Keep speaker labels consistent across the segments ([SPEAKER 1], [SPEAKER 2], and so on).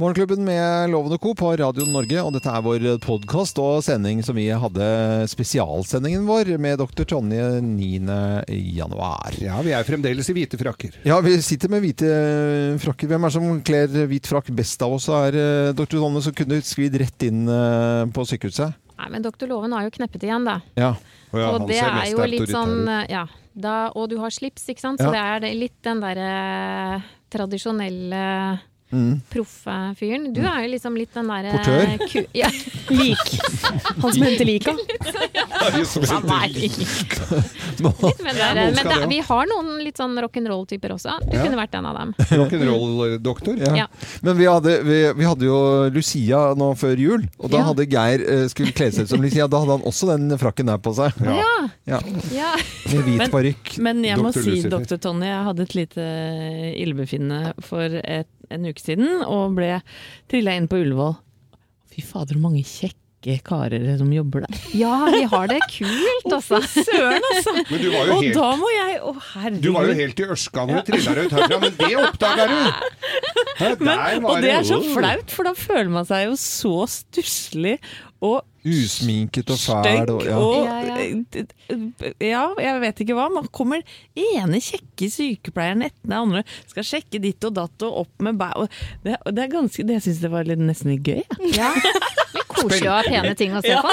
[SPEAKER 1] Morgenklubben med Loven og Co. på Radio Norge, og dette er vår podkast og sending som vi hadde spesialsendingen vår med dr. Tonje 9. januar.
[SPEAKER 2] Ja, vi er fremdeles i hvite frakker.
[SPEAKER 1] Ja, vi sitter med hvite frakker. Hvem er det som kler hvit frakk best av oss? Er eh, dr. Tonje som kunne sklidd rett inn eh, på sykehuset?
[SPEAKER 3] Nei, men doktor Loven har jo kneppet igjen, da.
[SPEAKER 1] Ja.
[SPEAKER 3] og det er jo litt sånn ja, da, Og du har slips, ikke sant? Så det er det- litt den derre tradisjonelle
[SPEAKER 1] Mm.
[SPEAKER 3] proffe fyren.
[SPEAKER 2] Mm.
[SPEAKER 3] Du er jo liksom litt den derre
[SPEAKER 1] Portør?
[SPEAKER 3] Ku, ja,
[SPEAKER 4] Lik. Han som henter lika.
[SPEAKER 3] han er lik. Litt med den
[SPEAKER 2] Ja,
[SPEAKER 3] derre-
[SPEAKER 2] noen skal
[SPEAKER 3] men
[SPEAKER 2] det
[SPEAKER 3] det,
[SPEAKER 2] også.
[SPEAKER 3] vi har noen litt sånn rock'n'roll-typer også. Du
[SPEAKER 2] Ja.
[SPEAKER 3] kunne vært en av dem.
[SPEAKER 2] Rock'n'roll-doktor.
[SPEAKER 1] Ja.
[SPEAKER 3] Ja.
[SPEAKER 1] Men vi hadde, vi, vi hadde jo Lucia nå før jul, og da
[SPEAKER 3] Ja.
[SPEAKER 1] hadde Geir eh, skulle kle seg ut som Lucia. Da hadde han også den frakken der på seg.
[SPEAKER 3] Ja.
[SPEAKER 1] Ja,
[SPEAKER 3] ja.
[SPEAKER 1] Med hvit
[SPEAKER 4] Men-
[SPEAKER 1] parykk.
[SPEAKER 4] Men jeg må
[SPEAKER 2] Dr.
[SPEAKER 4] si,
[SPEAKER 2] Lucifer.
[SPEAKER 4] doktor Tonje, jeg hadde et lite illebefinnende for et, en uke siden, og ble trilla inn på Ullevål. Fy fader, hvor mange kjekke karer som jobber der.
[SPEAKER 3] ja, vi har det kult, altså.
[SPEAKER 4] Søren, altså!
[SPEAKER 2] Men du var jo
[SPEAKER 4] Og
[SPEAKER 2] helt
[SPEAKER 4] da må jeg Å, herregud.
[SPEAKER 2] du var jo helt i ørska når du trilla deg ut herfra, men det oppdaga du! Hæ, der var
[SPEAKER 4] og det er så
[SPEAKER 2] oh.
[SPEAKER 4] flaut, for da føler man seg jo så stusslig og
[SPEAKER 1] Usminket og fæl.
[SPEAKER 4] stygg
[SPEAKER 1] Og, ja.
[SPEAKER 4] og eh,
[SPEAKER 3] Ja,
[SPEAKER 4] Ja, jeg vet ikke hva. Man kommer ene kjekke sykepleieren etter den andre, skal sjekke ditt og datt og opp med bæ... og Det, og det, er ganske- det syns jeg var litt, nesten litt gøy. Ja.
[SPEAKER 3] Ja. Litt koselig å ha pene ting å se
[SPEAKER 4] Ja.
[SPEAKER 3] på.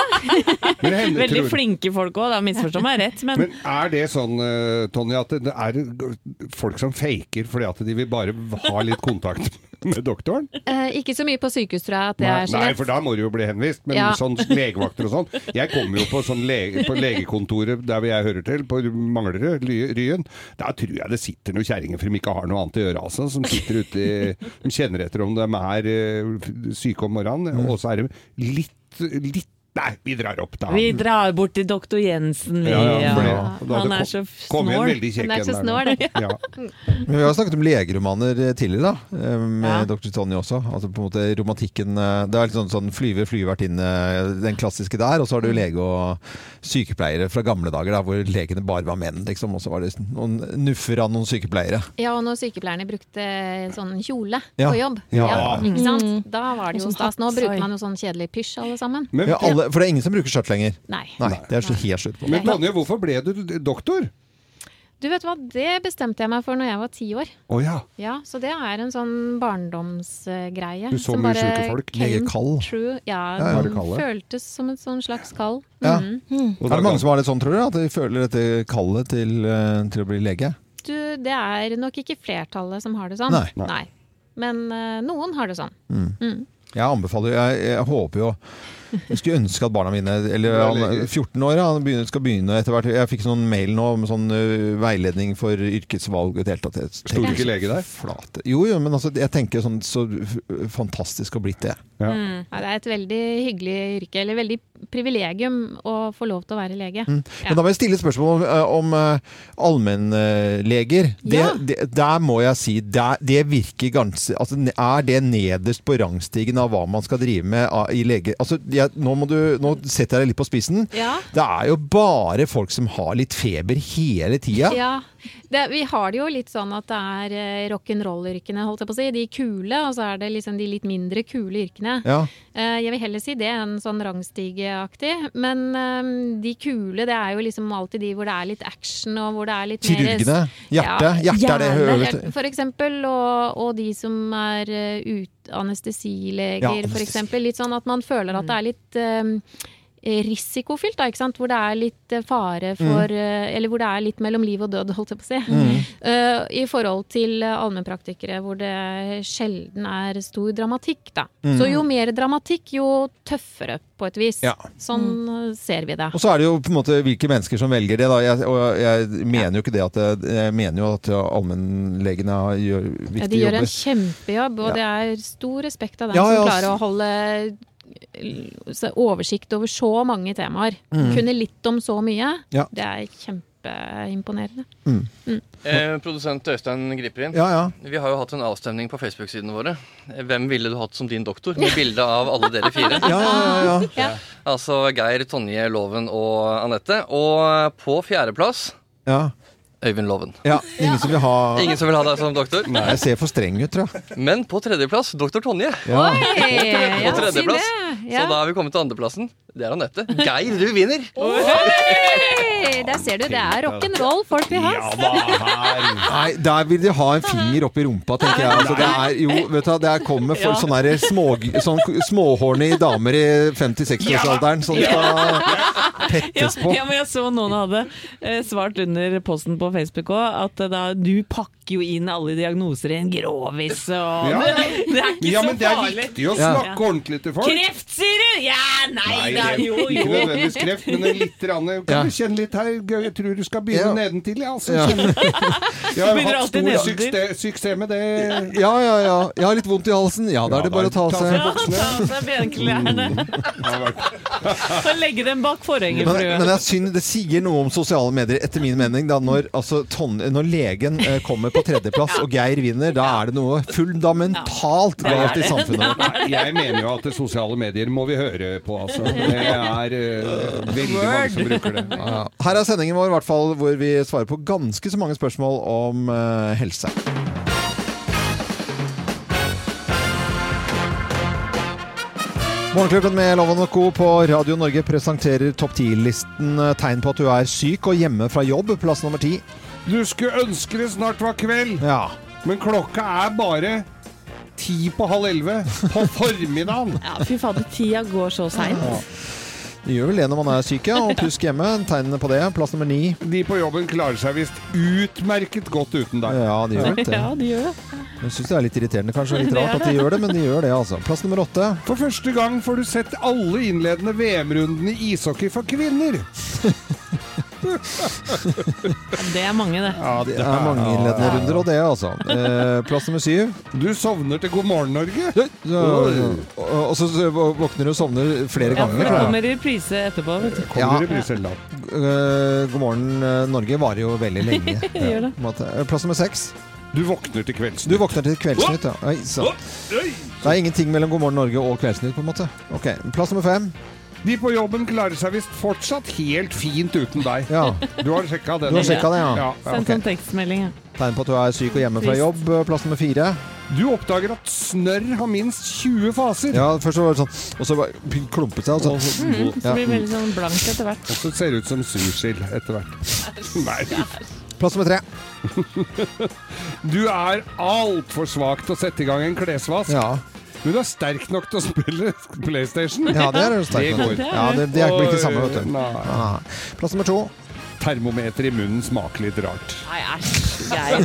[SPEAKER 2] Men hender-
[SPEAKER 4] Veldig
[SPEAKER 2] tror-
[SPEAKER 4] flinke folk òg, misforstå meg rett, men,
[SPEAKER 2] Men er det sånn, eh, Tonje, at det er folk som faker fordi at de vil bare ha litt kontakt med doktoren?
[SPEAKER 3] Eh, ikke så mye på sykehus, tror jeg. at det
[SPEAKER 2] Nei,
[SPEAKER 3] er så
[SPEAKER 2] nei,
[SPEAKER 3] lett.
[SPEAKER 2] for da må du jo bli henvist. Men
[SPEAKER 3] Ja.
[SPEAKER 2] sånn legevakter og sånn Jeg kommer jo på, sånn lege, på legekontoret der hvor jeg hører til, på Manglerud, Ly- Ryen. Der tror jeg det sitter noen kjerringer som ikke har noe annet å gjøre, altså. Som sitter ute i De kjenner etter om de er eh, syke om morgenen, og så er det litt, litt Nei, vi drar opp, da.
[SPEAKER 4] vi drar bort til doktor Jensen, vi.
[SPEAKER 2] Ja, ja, for det-
[SPEAKER 4] ja.
[SPEAKER 2] da hadde
[SPEAKER 4] Han er
[SPEAKER 2] kom-
[SPEAKER 4] så
[SPEAKER 2] Kom igjen,
[SPEAKER 4] snål.
[SPEAKER 2] veldig kjekk
[SPEAKER 3] Han er
[SPEAKER 2] en
[SPEAKER 3] så
[SPEAKER 2] der nå. Ja.
[SPEAKER 1] Men vi har snakket om legeromaner eh, tidligere, da, eh, med
[SPEAKER 4] Ja.
[SPEAKER 1] dr. Tonje også. Altså på en måte romantikken eh, Det er litt sånn, sånn flyver, flyvertinne, eh, den klassiske der. Og så har
[SPEAKER 4] Mm.
[SPEAKER 1] du lege og sykepleiere fra gamle dager, da, hvor legene bare var menn. Liksom, og så var det noen nuffer av noen sykepleiere.
[SPEAKER 3] Ja, og når sykepleierne brukte sånn kjole
[SPEAKER 1] Ja.
[SPEAKER 3] på jobb,
[SPEAKER 1] Ja.
[SPEAKER 3] ikke sant? Da var det jo
[SPEAKER 4] Og sånn
[SPEAKER 3] stas. Nå
[SPEAKER 4] hattsai.
[SPEAKER 3] bruker man jo sånn kjedelig pysj alle sammen.
[SPEAKER 2] Men,
[SPEAKER 1] Ja, alle, for det er ingen som bruker skjørt lenger.
[SPEAKER 3] Nei.
[SPEAKER 1] Nei, det er så helt slutt på.
[SPEAKER 2] men Tonje, hvorfor ble du doktor?
[SPEAKER 3] Du vet hva, det bestemte jeg meg for når jeg var ti år.
[SPEAKER 2] Å ja.
[SPEAKER 3] Ja, Så det er en sånn barndomsgreie.
[SPEAKER 2] Du så
[SPEAKER 3] som
[SPEAKER 2] mye
[SPEAKER 3] bare
[SPEAKER 2] sjuke folk.
[SPEAKER 3] came
[SPEAKER 1] Lege kall.
[SPEAKER 4] Mm.
[SPEAKER 3] True. Ja,
[SPEAKER 1] Ja, ja.
[SPEAKER 3] den
[SPEAKER 1] Var det kall, ja?
[SPEAKER 3] føltes som et sånn slags kall.
[SPEAKER 1] Ja.
[SPEAKER 4] Mm.
[SPEAKER 3] Mhm.
[SPEAKER 1] Er det mange som har det sånn, tror du? At de føler dette kallet til, eh, til å bli lege?
[SPEAKER 3] Du, det er nok ikke flertallet som har det sånn.
[SPEAKER 1] Nei.
[SPEAKER 2] Nei.
[SPEAKER 3] Men eh, noen har det sånn.
[SPEAKER 1] Jeg anbefaler Jeg, jeg håper jo Jeg skulle ønske at barna mine Eller han, 14 år, han begynner, skal begynne etter hvert. Jeg fikk sånn mail nå med sånn ø, veiledning for yrkesvalg og det hele tatt. Jeg
[SPEAKER 2] Sto du
[SPEAKER 1] tenker
[SPEAKER 2] ikke lege der?
[SPEAKER 1] så flate. Jo, jo, men altså, jeg tenker sånn så f- fantastisk å ha blitt det.
[SPEAKER 2] Ja.
[SPEAKER 3] Ja, det er et veldig hyggelig yrke, eller veldig privilegium å få lov til å være lege. Ja.
[SPEAKER 1] Men da må jeg stille et spørsmål om, ø, om ø, allmennleger. Det,
[SPEAKER 3] Ja.
[SPEAKER 1] det, der må jeg si der, Det virker ganske altså, Er det nederst på rangstigen av hva man skal drive med av- i lege... Altså, jeg, nå, må du, nå setter jeg deg litt på spissen.
[SPEAKER 3] Ja.
[SPEAKER 1] Det er jo bare folk som har litt feber hele tida.
[SPEAKER 3] Ja. Det, vi har det jo litt sånn at det er eh, rock'n'roll-yrkene, holdt jeg på å si. De kule, og så er det liksom de litt mindre kule yrkene.
[SPEAKER 1] Ja.
[SPEAKER 3] Eh, jeg vil heller si det enn sånn rangstigeaktig. Men eh, de kule, det er jo liksom alltid de hvor det er litt action, og hvor det er litt mer
[SPEAKER 1] Kirurgene. Hjertet. Hjertet er det
[SPEAKER 4] hjerne,
[SPEAKER 1] øverste.
[SPEAKER 3] For eksempel, og, og de som er eh, ut
[SPEAKER 1] Ja,
[SPEAKER 3] anestesileger,
[SPEAKER 1] anestesi. Mm.
[SPEAKER 3] for eksempel. Litt sånn at man føler at det er litt eh, risikofylt, da, ikke sant? Hvor det er litt eh, fare
[SPEAKER 1] Mm.
[SPEAKER 3] for eh, Eller hvor det er litt mellom liv og død, holdt jeg på å si.
[SPEAKER 1] Mm.
[SPEAKER 3] Eh, I forhold til eh, allmennpraktikere, hvor det sjelden er stor dramatikk, da. Så jo mer dramatikk, jo tøffere, på et vis.
[SPEAKER 1] Mm. Ja. Mm.
[SPEAKER 3] Sånn eh, ser vi det.
[SPEAKER 1] Og så er det jo på en måte hvilke mennesker som velger det. Da. Jeg, og jeg mener jo ikke det at eh, Jeg mener jo at allmennlegene gjør
[SPEAKER 3] Ja,
[SPEAKER 1] viktige
[SPEAKER 3] de gjør en
[SPEAKER 1] jobber.
[SPEAKER 3] kjempejobb, og det er stor respekt av dem
[SPEAKER 1] Ja, ja,
[SPEAKER 3] som
[SPEAKER 1] ass.
[SPEAKER 3] klarer å holde eh, så- oversikt over så mange temaer. Kunne litt om så mye.
[SPEAKER 1] Mm. Ja.
[SPEAKER 3] Det er kjempeimponerende.
[SPEAKER 5] Eh, produsent Øystein griper inn.
[SPEAKER 1] Ja, ja.
[SPEAKER 5] Vi har jo hatt en avstemning på Facebook-sidene våre. Hvem ville du hatt som din doktor? Med bilde av alle dere fire.
[SPEAKER 1] Ja, ja, ja.
[SPEAKER 3] Ja.
[SPEAKER 5] Altså Geir, Tonje, Loven og Anette. Og på fjerdeplass
[SPEAKER 1] ja.
[SPEAKER 5] Øyvind Loven.
[SPEAKER 1] Ja, ingen som vil ha
[SPEAKER 5] Ingen som vil ha deg som doktor?
[SPEAKER 1] Jeg ser for streng ut, tror jeg.
[SPEAKER 5] Men på tredjeplass, doktor Tonje.
[SPEAKER 1] Ja.
[SPEAKER 3] Oi, ja,
[SPEAKER 5] På
[SPEAKER 3] si det.
[SPEAKER 5] tredjeplass.
[SPEAKER 3] Ja.
[SPEAKER 5] Så da er vi kommet til andreplassen. Det er Anette. Geir, du vinner!
[SPEAKER 3] Oi, Der ser du, det er rock'n'roll folk vil ha.
[SPEAKER 2] Ja da, her.
[SPEAKER 1] Nei, der vil de ha en finger opp i rumpa, tenker jeg. Altså, det er, jo, vet du, hva, det er kommer for sånne her små, sånn småhorny damer i 50-60-årsalderen som skal
[SPEAKER 4] Ja,
[SPEAKER 1] pettes på.
[SPEAKER 4] ja, men jeg så noen hadde eh, svart under posten på Facebook òg, at eh, da, du pakker jo inn alle diagnoser i en grovis og
[SPEAKER 2] Ja.
[SPEAKER 4] Det er ikke
[SPEAKER 2] Ja,
[SPEAKER 4] så
[SPEAKER 2] men det er
[SPEAKER 4] farlig.
[SPEAKER 2] viktig å
[SPEAKER 1] Ja.
[SPEAKER 2] snakke ordentlig til folk.
[SPEAKER 4] Kreft, sier du? Ja, nei,
[SPEAKER 2] Nei,
[SPEAKER 4] da,
[SPEAKER 2] det-
[SPEAKER 4] jo,
[SPEAKER 2] Ikke
[SPEAKER 4] jo.
[SPEAKER 2] nødvendigvis kreft, men en litt rann,
[SPEAKER 1] Ja.
[SPEAKER 2] Kan du kjenne litt her? Gøy, Jeg tror du skal begynne
[SPEAKER 1] Ja.
[SPEAKER 2] nedentil, ja. Altså,
[SPEAKER 1] Ja.
[SPEAKER 2] kjenne. Jeg har
[SPEAKER 4] Begynner
[SPEAKER 2] hatt
[SPEAKER 4] alltid
[SPEAKER 2] stor
[SPEAKER 4] nedentil.
[SPEAKER 2] suksess, suksess med det.
[SPEAKER 1] Ja, ja, ja. Jeg har litt vondt i halsen. Ja, da er det bare å ta av
[SPEAKER 4] Ja,
[SPEAKER 1] seg
[SPEAKER 4] ta av seg benklærne
[SPEAKER 2] har vært-
[SPEAKER 4] og legge dem bak forhenget.
[SPEAKER 1] men,
[SPEAKER 4] for å
[SPEAKER 1] men
[SPEAKER 4] gjøre
[SPEAKER 1] det
[SPEAKER 4] det.
[SPEAKER 1] er synd, det sier noe om sosiale medier, etter min mening. Da, når, altså, ton, når legen eh, kommer på tredjeplass og Geir vinner, da er det noe fundamentalt galt i samfunnet vårt.
[SPEAKER 2] Nei, jeg mener jo at det sosiale medier må vi høre på, altså. Det er eh, veldig mange som bruker det.
[SPEAKER 1] Ja. Her er sendingen vår, i hvert fall, hvor vi svarer på ganske så mange spørsmål om eh, helse. Morgenklubben med Loven og Co. på Radio Norge presenterer topp 10-listen eh, tegn på at du er syk og hjemme fra jobb. Plass nummer ti.
[SPEAKER 2] Du skulle ønske det snart var kveld,
[SPEAKER 1] Ja.
[SPEAKER 2] men klokka er bare ti på halv elleve på formiddagen.
[SPEAKER 4] Ja, fy fader, tida går så seint.
[SPEAKER 1] Det gjør vel det når man er syk, ja. Og plusk hjemme. Tegnene på det. Plass nummer ni.
[SPEAKER 2] De på jobben klarer seg visst utmerket godt uten deg.
[SPEAKER 1] Ja, de gjør vel det.
[SPEAKER 4] Ja, det gjør det.
[SPEAKER 1] Jeg syns det er litt irriterende kanskje, og litt rart at de gjør det, men de gjør det, altså. Plass nummer åtte.
[SPEAKER 2] For første gang får du sett alle innledende VM-rundene i ishockey for kvinner.
[SPEAKER 4] Ja, Det er mange, det.
[SPEAKER 2] Ja,
[SPEAKER 1] Det er mange innledende runder, og det, altså. Eh, plass nummer syv.
[SPEAKER 2] Du sovner til God morgen, Norge.
[SPEAKER 1] Ja, ja, ja. Og og så så våkner du og sovner flere
[SPEAKER 4] Ja,
[SPEAKER 1] ganger.
[SPEAKER 4] for det
[SPEAKER 1] tror jeg.
[SPEAKER 4] kommer reprise etterpå. Vet du.
[SPEAKER 1] Ja.
[SPEAKER 2] Kommer i Brussel da.
[SPEAKER 1] Eh, God morgen eh, Norge varer jo veldig lenge.
[SPEAKER 4] gjør det.
[SPEAKER 1] På en måte. Eh, Plass nummer seks.
[SPEAKER 2] Du våkner til kveldsnytt.
[SPEAKER 1] Du våkner til Kveldsnytt. Ja. Oi, sant. det er ingenting mellom God morgen Norge og Kveldsnytt. på en måte Ok, Plass nummer fem.
[SPEAKER 2] De på jobben klarer seg visst fortsatt helt fint uten deg.
[SPEAKER 1] Ja,
[SPEAKER 2] Du har sjekka den?
[SPEAKER 1] Du har sjekka det, ja.
[SPEAKER 2] Ja, ja.
[SPEAKER 4] Send sånn tekstmelding. ja.
[SPEAKER 1] Tegn på at du er syk og hjemme fra
[SPEAKER 4] Trist.
[SPEAKER 1] jobb. Eh, Plass nummer fire.
[SPEAKER 2] Du oppdager at snørr har minst 20 faser.
[SPEAKER 1] Ja, først så var det sånn, og så bare klumpet seg, og så
[SPEAKER 4] Så blir det veldig sånn blankt etter hvert.
[SPEAKER 2] Og så ser det ut som sursild etter hvert. Nei,
[SPEAKER 1] Plass nummer tre.
[SPEAKER 2] du er altfor svak til å sette i gang en klesvask.
[SPEAKER 1] Ja,
[SPEAKER 2] Men du er sterk nok til å spille PlayStation.
[SPEAKER 1] ja det er jo
[SPEAKER 2] Det
[SPEAKER 1] sterkt.
[SPEAKER 2] går.
[SPEAKER 1] Ja, det, det er ikke det samme, vet du.
[SPEAKER 2] Nei.
[SPEAKER 1] Ah. Plass nummer to.
[SPEAKER 2] Termometer i munnen smaker litt rart.
[SPEAKER 4] Nei, æsj. Geir.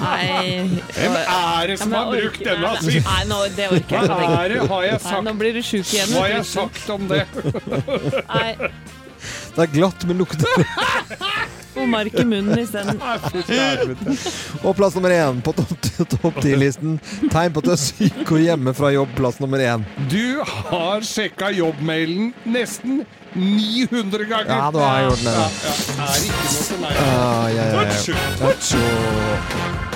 [SPEAKER 4] Nei.
[SPEAKER 2] Hvem er det
[SPEAKER 4] Ja,
[SPEAKER 2] som
[SPEAKER 4] men
[SPEAKER 2] har
[SPEAKER 4] jeg
[SPEAKER 2] brukt
[SPEAKER 4] orker-
[SPEAKER 2] denne?
[SPEAKER 4] nei,
[SPEAKER 2] sist?
[SPEAKER 4] Nei, nå, det orker jeg
[SPEAKER 2] Hva
[SPEAKER 4] ikke å tenke
[SPEAKER 2] er det? Har jeg
[SPEAKER 4] på. Nei,
[SPEAKER 2] sagt,
[SPEAKER 4] Nå blir du sjuk igjen.
[SPEAKER 2] hva har jeg
[SPEAKER 4] Truls.
[SPEAKER 2] sagt om det?
[SPEAKER 4] Nei,
[SPEAKER 1] Det er glatt, men lukter
[SPEAKER 4] og mark i munnen isteden.
[SPEAKER 1] Og plass nummer én på topp topp 10-listen. Tegn på at du er syk og hjemme fra jobb. Plass nummer én.
[SPEAKER 2] Du har sjekka jobbmailen nesten 900 ganger.
[SPEAKER 1] Ja, du har gjort det.
[SPEAKER 2] Ja, ja, er ikke noe til meg.
[SPEAKER 1] Ah, ja, ja, ja.
[SPEAKER 2] Fortsett,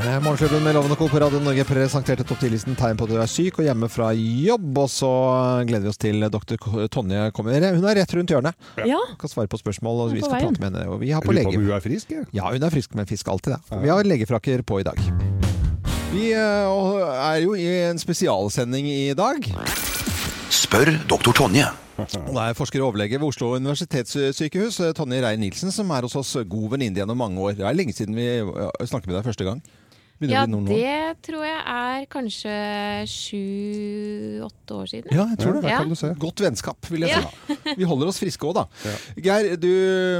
[SPEAKER 1] Eh, Morgenklubben med Loven og Co. på Radio Norge presenterte topp 10-listen tegn på at du er syk og hjemme fra jobb. Og så gleder vi oss til doktor K- Tonje kommer. Hun er rett rundt hjørnet.
[SPEAKER 4] Ja.
[SPEAKER 1] Hun kan svare på spørsmål, og
[SPEAKER 4] Hun er
[SPEAKER 1] vi
[SPEAKER 4] på
[SPEAKER 1] skal
[SPEAKER 4] veien.
[SPEAKER 1] prate med henne. Og vi har på
[SPEAKER 2] Lurer på
[SPEAKER 1] lege...
[SPEAKER 2] om hun er frisk, jeg.
[SPEAKER 1] Ja, hun er frisk, men fisk alltid, det. Vi har legefrakker på i dag. Vi eh, er jo i en spesialsending i dag.
[SPEAKER 6] Spør doktor Tonje.
[SPEAKER 1] Og Det er forsker og overlege ved Oslo universitetssykehus, eh, Tonje Rein-Nilsen, som er hos oss eh, god venninne gjennom mange år. Det er lenge siden vi eh, snakket med deg første gang. Begynner å
[SPEAKER 3] Ja,
[SPEAKER 1] bli noen år.
[SPEAKER 3] det tror jeg er kanskje sju-åtte år siden.
[SPEAKER 1] Ja, jeg tror det.
[SPEAKER 3] Ja.
[SPEAKER 1] Kan du se. Godt vennskap, vil jeg si. Vi holder oss friske òg, da. Geir, du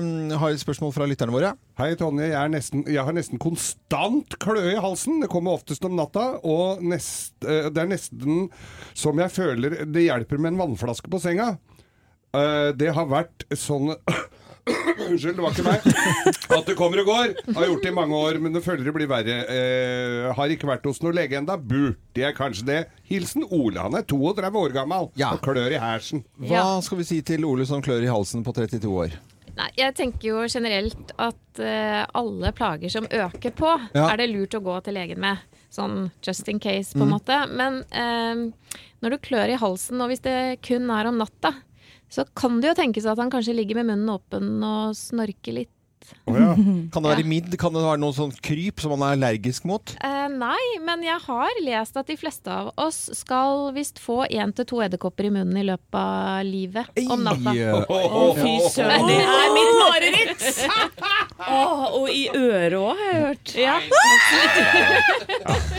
[SPEAKER 1] mm, har et spørsmål fra lytterne våre.
[SPEAKER 2] Hei, Tonje. Jeg, er nesten, jeg har nesten konstant kløe i halsen. Det kommer oftest om natta. Og nest, eh, det er nesten som jeg føler det hjelper med en vannflaske på senga. Eh, det har vært sånn Unnskyld, det var ikke meg. At det kommer og går. Har gjort det i mange år, men det føler det blir verre. Eh, har ikke vært hos noen lege enda. Burde jeg kanskje det? Hilsen Ole. Han er 32 år gammel
[SPEAKER 1] Ja.
[SPEAKER 2] og klør i hæsen.
[SPEAKER 1] Hva
[SPEAKER 3] Ja.
[SPEAKER 1] skal vi si til Ole som klør i halsen på 32 år?
[SPEAKER 3] Nei, jeg tenker jo generelt at eh, alle plager som øker på,
[SPEAKER 1] Ja.
[SPEAKER 3] er det lurt å gå til legen med. Sånn just in case, på en måte. Men eh, når du klør i halsen, og hvis det kun er om natta, så kan det jo tenkes at han kanskje ligger med munnen åpen og snorker litt midd.
[SPEAKER 2] Å ja.
[SPEAKER 1] Kan det være midd? Kan det være noe sånn kryp som man er allergisk mot?
[SPEAKER 3] Eh, nei, men jeg har lest at de fleste av oss skal visst få én til to edderkopper i munnen i løpet av livet om natta.
[SPEAKER 4] Fy søren, det er mitt mareritt! Åh, og i øret òg, har jeg hørt.
[SPEAKER 3] Ja.